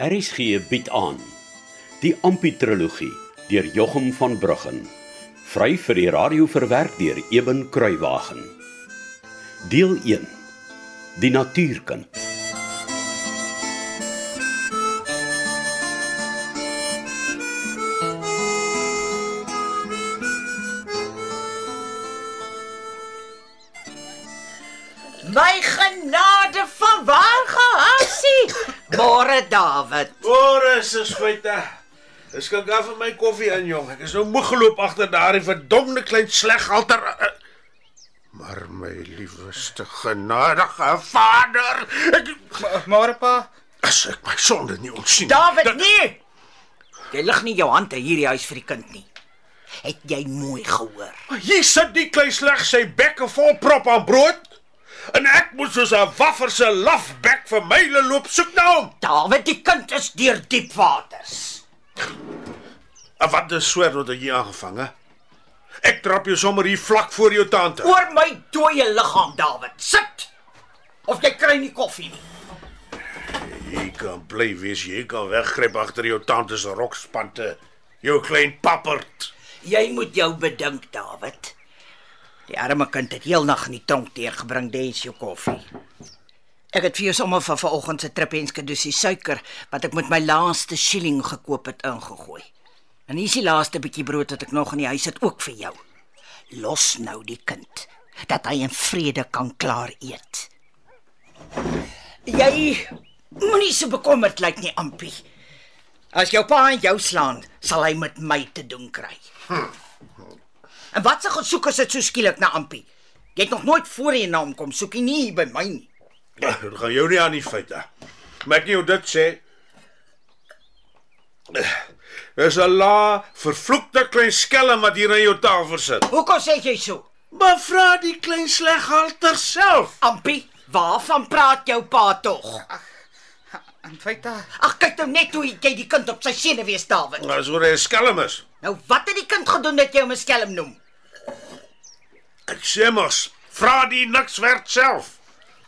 RSG bied aan die Amputrologie deur Jochum van Bruggen vry vir die radio verwerk deur Eben Kruiwagen deel 1 die natuurkind My genade van waar gehasie? Môre Dawid. Ore suspeite. Dis kyk af vir my koffie in jong. Ek is nou moeg geloop agter daardie verdomde klein sleghalter. Maar my liefste genadige Vader, ek Môre pa. as ek my sonde nie ontsien. Dawid, dat- nee. Jy lig nie jou hande hierdie huis vir die kind nie. Het jy mooi gehoor? Hier sit die klein sleg sy bekke vol prop aan brood. En ek moet soos 'n waffer se lafbek vir myle loop soek na hom. Dawid, die kind is deur diep waters. En wat 'n swer wat jy aangevang het. Ek trap jou sommer hier vlak voor jou tante. Oor my dooie liggaam, Dawid. Sit. Of jy kry nie koffie nie. Jy kan bly wees, jy kan weggryp agter jou tante se rokspante. Jou klein papperd. Jy moet jou bedink, Dawid. Die arme kind het heelnag in die tronk deurgebring, dis jou koffie. Ek het vir jou sommer van vanoggend se trippenske dosie suiker wat ek met my laaste shilling gekoop het ingegooi. En hier's die laaste bietjie brood wat ek nog in die huis het ook vir jou. Los nou die kind dat hy in vrede kan klaar eet. Jy moenie so bekommerd lyk nie, Ampie. As jou pa jou slaan, sal hy met my te doen kry. En wat se gesoek is dit so skielik na Ampie? Jy het nog nooit voorheen na hom kom soekie nie hier by my nie. Ja, dit gaan jou nie aan die feite. Maar ek nie hoe dit sê. Dis 'n la vervloekte klein skelm wat hier aan jou tafel sit. Hoekom sê jy so? Maar vra die klein sleghalter self. Ampie, waarvan praat jou pa tog? In feite, Ag kyk nou net hoe jy die kind op sy senuwees Dawid. As oor 'n skelm is. Nou wat het die kind gedoen dat jy hom 'n skelm noem? Ek sê mos, vra die niks werd self.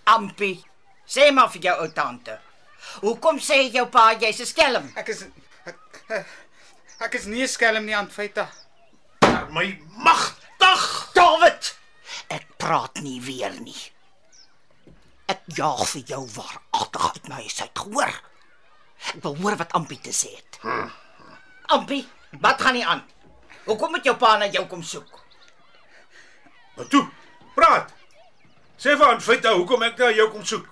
Ampie, sê maar vir jou ou tante. Hoekom sê jou pa jy's 'n skelm? ek is ek, ek is nie 'n skelm nie, in feite. Maar My magtig. Dawid, ek praat nie weer nie. Ek jaag vir jou waaragtig uit my huis uit, hoor? Ek wil hoor wat Ampie te sê het. Ampie, wat gaan nie aan? Hoekom moet jou pa na jou kom soek? Maar Nou toe, praat. Sê vir aan feite hoekom ek na jou kom soek.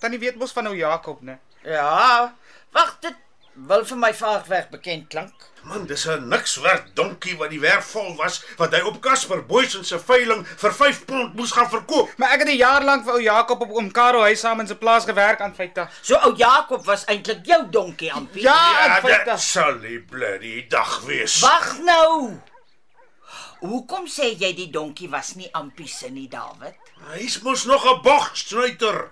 Tannie weet mos van ou Jakob, né? Ja, wag, dit wil vir my vaagweg bekend klink. Man, dis 'n nikswerd donkie wat die werf vol was wat hy op Casper Boysen se veiling vir 5 pond moes gaan verkoop. Maar ek het 'n jaar lank vir ou Jakob op oom Karel huis saam in sy plaas gewerk, in feite. So ou Jakob was eintlik jou donkie, Ampie. Ja, in dit feite. sal die bloody dag wees. Wag nou. Hoekom sê jy die donkie was nie Ampie se nie, Dawid? Hy's mos nog 'n bogsnuiter.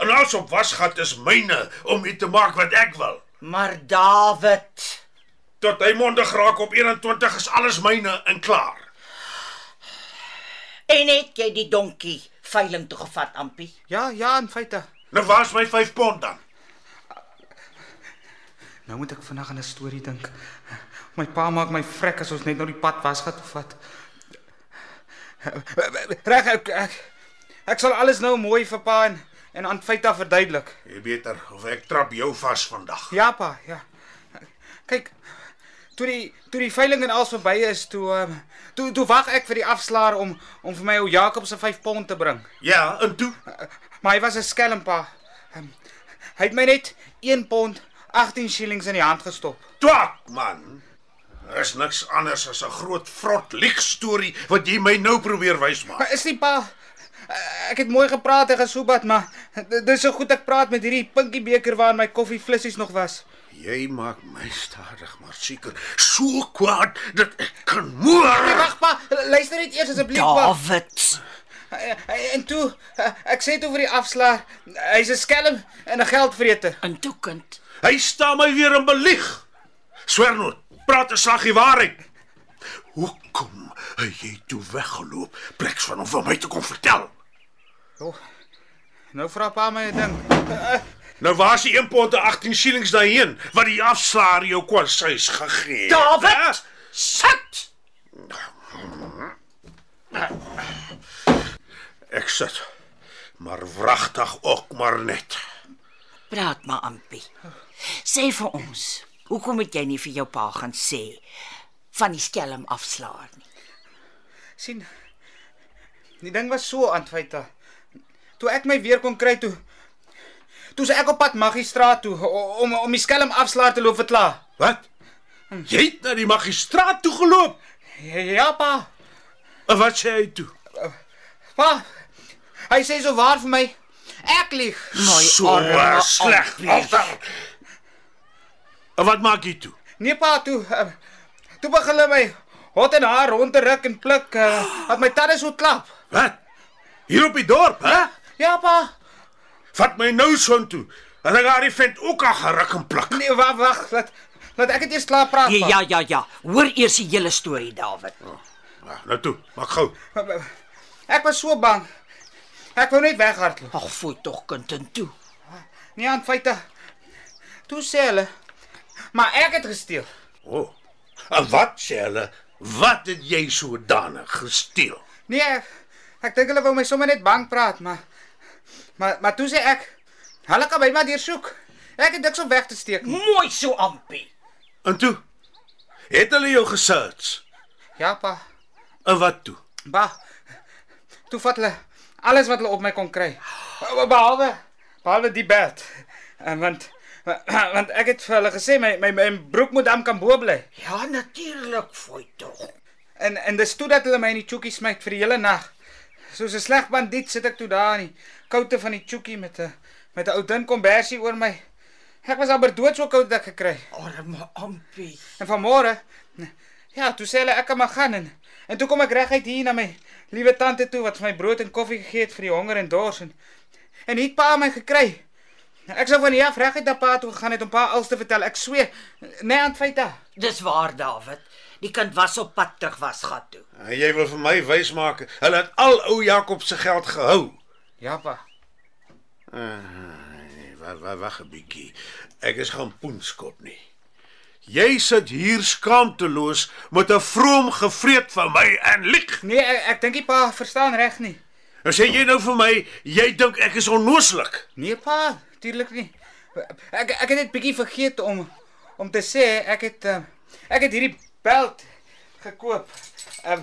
En alles op wasgat is myne om dit te maak wat ek wil. Maar Dawid Tot hy mondig raak op 21 is alles myne en klaar. En het jy die donkie veiling toe gevat, Ampie? Ja, ja, in feite. Nou waar's my 5 pond dan? Nou moet ek vandag aan 'n storie dink. My pa maak my vrek as ons net nou die pad was gaan toe vat. Reg, ek, ek ek sal alles nou mooi vir pa en en aan feite verduidelik. Jy beter of ek trap jou vas vandag. Ja pa, ja. Kyk. Toe die toe die veiling en alles verby is, toe ehm, toe toe wag ek vir die afslaer om om vir my ou Jakob se 5 pond te bring. Ja, en toe Maar hy was 'n skelm pa. Ehm, Hy het my net 1 pond 18 shillings in die hand gestop. Twak man. Er Is niks anders as 'n groot vrot leek storie wat jy my nou probeer wys maak. Maar is nie pa eh, Ek het mooi gepraat tegen Subat, maar d- dis so goed ek praat met hierdie pinkie beker waarin my koffie flissies nog was. Jy maak my stadig maar seker so kwaad dat ek kan Nee, moer. Wag pa, luister net eers asseblief Ja, pa. Dawid. En toe ek sê toe vir die afslaer, hy's 'n skelm en 'n geldvreter. In toekind. Hy staan my weer in belieg. Swernoot, praat 'n saggie waarheid. Hoekom het jy toe weggeloop? Pleks van Oh, om vir my te kom vertel. Nou vra pa my 'n ding. Nou waar's die 1 pond en 18 shillings daarheen wat die afslaer jou kos is gegee? Ja, David, sit. Ek sit. Maar wragtig ook maar net. Praat maar, Ampie. Sê vir ons, hoekom het jy nie vir jou pa gaan sê van die skelm afslaer nie? sien. Die ding was so aanfyte. Toe ek my weer kon kry toe toe se ek op pad Magistraat toe o- om om die skelm afslaer te loop verklaar. Wat? Jy het na die magistraat toe geloop. Ja pa. En wat sê hy toe? Pa. Hy sê so waar vir my. Ek lieg. so arme, sleg alter. En wat maak jy toe? Nee pa toe. eh, Toe begin hulle my hot en haar rond te ruk en pluk. Uh, at my tande so klap. Wat? Hier op die dorp, hè? Ja pa. Vat my nou son toe. En dan gaan die vent ook aan geruk en plak. Nee wag wag. Laat laat ek dit eers klaar praat. Ja, pa. ja, ja, ja. Hoor eers die hele storie, David. Ja, nou toe, maak gou. Ek was so bang. Ek wou net weghardloop. Ag, fooi tog kind en toe. Nee, aan feite. Toe sê hulle, maar ek het gesteel. O. Oh. En wat sê hulle? Wat het jy sodanig gesteel? Nee, ek, ek dink hulle wou my sommer net bang praat, maar maar maar toe sê ek, hulle kan my maar deursoek. Ek het niks om weg te steek nie. Mooi so, Ampie. En toe het hulle jou gesearch. Ja, pa. En wat toe? Ba. Toe vat hulle alles wat hulle op my kon kry. Behalwe behalwe die bed. En want want ek het vir hulle gesê my my, my broek moet aan kan bo bly. Ja, natuurlik, fooi tog. En en dis toe dat hulle my in die chookie smyt vir die hele nag. Soos 'n sleg bandiet sit ek toe daar in die koute van die chookie met 'n met 'n ou dun kombersie oor my. Ek was amper dood so koud dat ek gekry. Arme Ampie. En vanmôre ja, toe sê hulle ek kan maar gaan en en toe kom ek reguit hier na my liewe tante toe wat vir my brood en koffie gegee het vir die honger en dors en en het pa my gekry. Ek sou van hier af reguit na pa toe gegaan het om pa alles te vertel. Ek sweer, nee aan feite. Dis waar, David. Die kind was op pad terug was gat toe. En jy wil vir my wys maak hulle het al ou Jakob se geld gehou. Ja pa. Nee, wag wag wag 'n bietjie. Ek is gaan poenskop nie. Jy sit hier skaamteloos met 'n vroom gevreet van my en lieg. Nee, ek, ek dink die pa verstaan reg nie. Nou sê jy nou vir my jy dink ek is onnooslik. Nee pa, tuurlik nie. Ek ek het net bietjie vergeet om om te sê ek het eh, ek het hierdie belt gekoop. Um,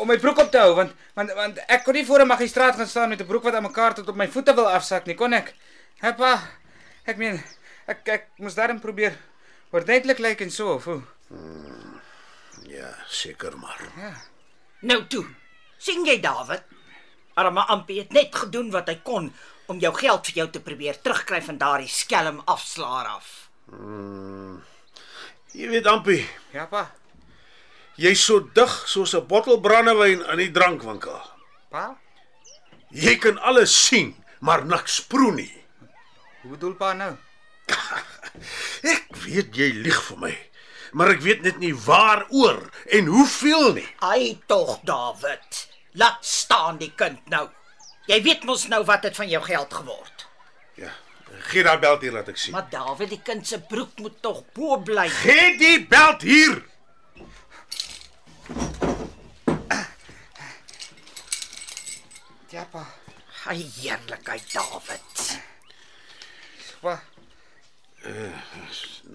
om my broek op te hou want want want ek kon nie voor 'n magistraat gaan staan met 'n broek wat aan mekaar tot op my voete wil afsak nie, kon ek. Hè pa. Ek meen ek ek moes daarin probeer ordentlik lyk en so of hoe. Ja, seker maar. Nou toe. sien jy, David? Arme Ampie het net gedoen wat hy kon om jou geld vir jou te probeer terugkry van daardie skelm afslaer af. Jy weet ampie, Ja pa. jy's so dig soos 'n bottel brandewyn in die drankwinkel. Pa? Jy kan alles sien, maar niks proe nie. Hoe bedoel pa nou? Ek weet jy lieg vir my, maar ek weet net nie waaroor en hoeveel nie. Ai tog, David. Laat staan die kind nou. Jy weet mos nou wat het van jou geld geword. Ja, gee daai belt hier laat ek sien. Maar David, die kind se broek moet tog bo bly. Gee die belt hier. Ja pa. Ai heerlikheid, David. Pa.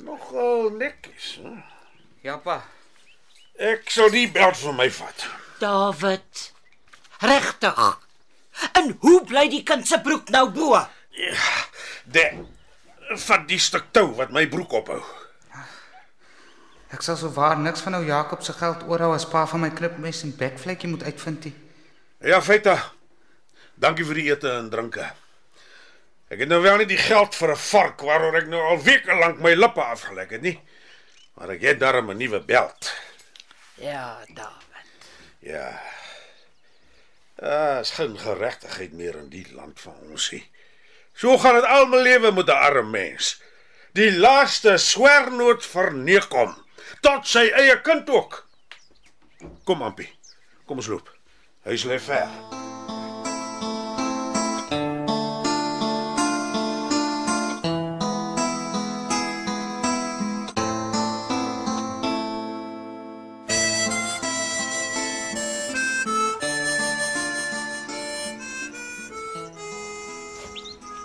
Nogal netjies, hè? Ja pa. Ek sal die belt vir my vat. David. Regtig. En hoe bly die kind se broek nou bo? Ja, De vat die stuk tou wat my broek ophou. Ek sal sou waar niks van ou Jakob se geld oorhou as pa van my knipmes en bekvlekkie moet uitvind nie. Ja, Veta. Dankie vir die ete en drinke. Ek het nou wel nie die geld vir 'n vark waaroor ek nou al weke lank my lippe afgelek het nie. Maar ek het darm 'n nuwe belt. Ja, David. Ja. Ah, is geen geregtigheid meer in die land van ons nie. So gaan dit al my lewe met 'n arm mens. Die laaste swernoot verneek hom tot sy eie kind ook. Kom Ampie. Kom ons loop. Huis lê ver.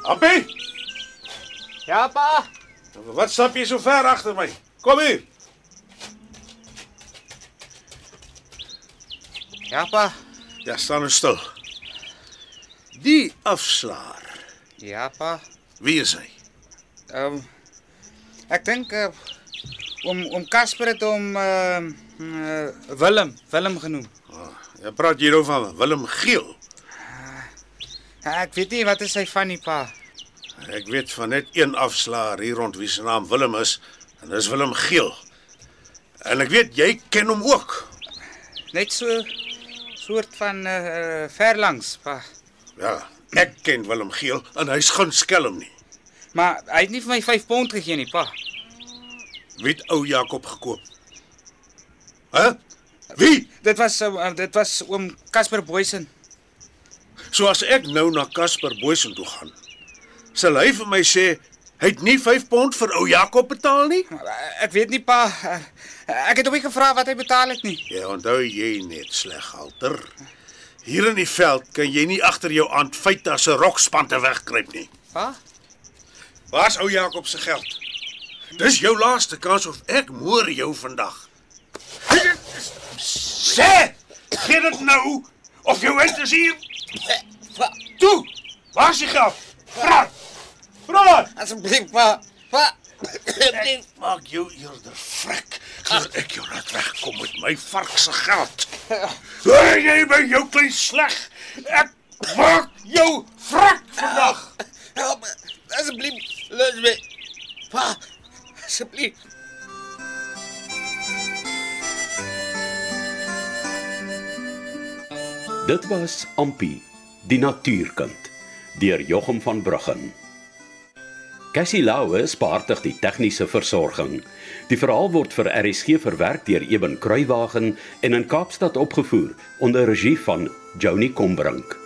Appie, Ja pa. wat stap je zo ver achter mij? Kom hier. Ja pa. Ja, staan nou stil. Die afslaer, Ja pa. wie is hy? Ehm ek dink eh, om om Casper het om ehm eh, Willem, Willem genoem. Oh, jy praat hier oor van Willem Geel. Ja, ek weet nie wat is hy van nie pa. Ek weet van net een afslaer hier rond wie se naam Willem is en dis Willem Geel. En ek weet jy ken hom ook. Net so soort van eh eh, ver langs pa. Ja, ek ken Willem Geel en hy's geen skelm nie. Maar hy het nie vir my 5 pond gegee nie pa. Wie het ou Jakob gekoop? Hæ? Wie? Dit was uh, dit was oom Casper Boysen. So as ek nou na Casper Booysen toe gaan, sal hy vir my sê hy het nie 5 pond vir ou Jakob betaal nie? Eh, Ek weet nie pa. Eh, Ek het hom nie gevra wat hy betaal het nie. Ja, onthou jy net sleg alter. Hier in die veld kan jy nie agter jou aan feite as 'n rokspan te wegkruip nie. Pa? Waar's ou Jakob se geld? Dis jou laaste kans of ek moor jou vandag. Sê, gee dit nou of jou is dis hier. Toe, waar's die geld? Praat. Praat. Asseblief pa. Pa. Ek maak jou eerder vrek. Gaan ek jou laat wegkom met my vark se geld. Hoor jy by jou klein sleg? Ek maak jou vrek vandag. Help me. Asseblief, los my. Pa. Asseblief. Dit was Ampi, die natuurkind, deur Jochum van Bruggen. Cassie Lauers behartig die tegniese versorging. Die verhaal word vir RSG verwerk deur Eben Kruiwagen en in Kaapstad opgevoer onder regie van Joni Combrink.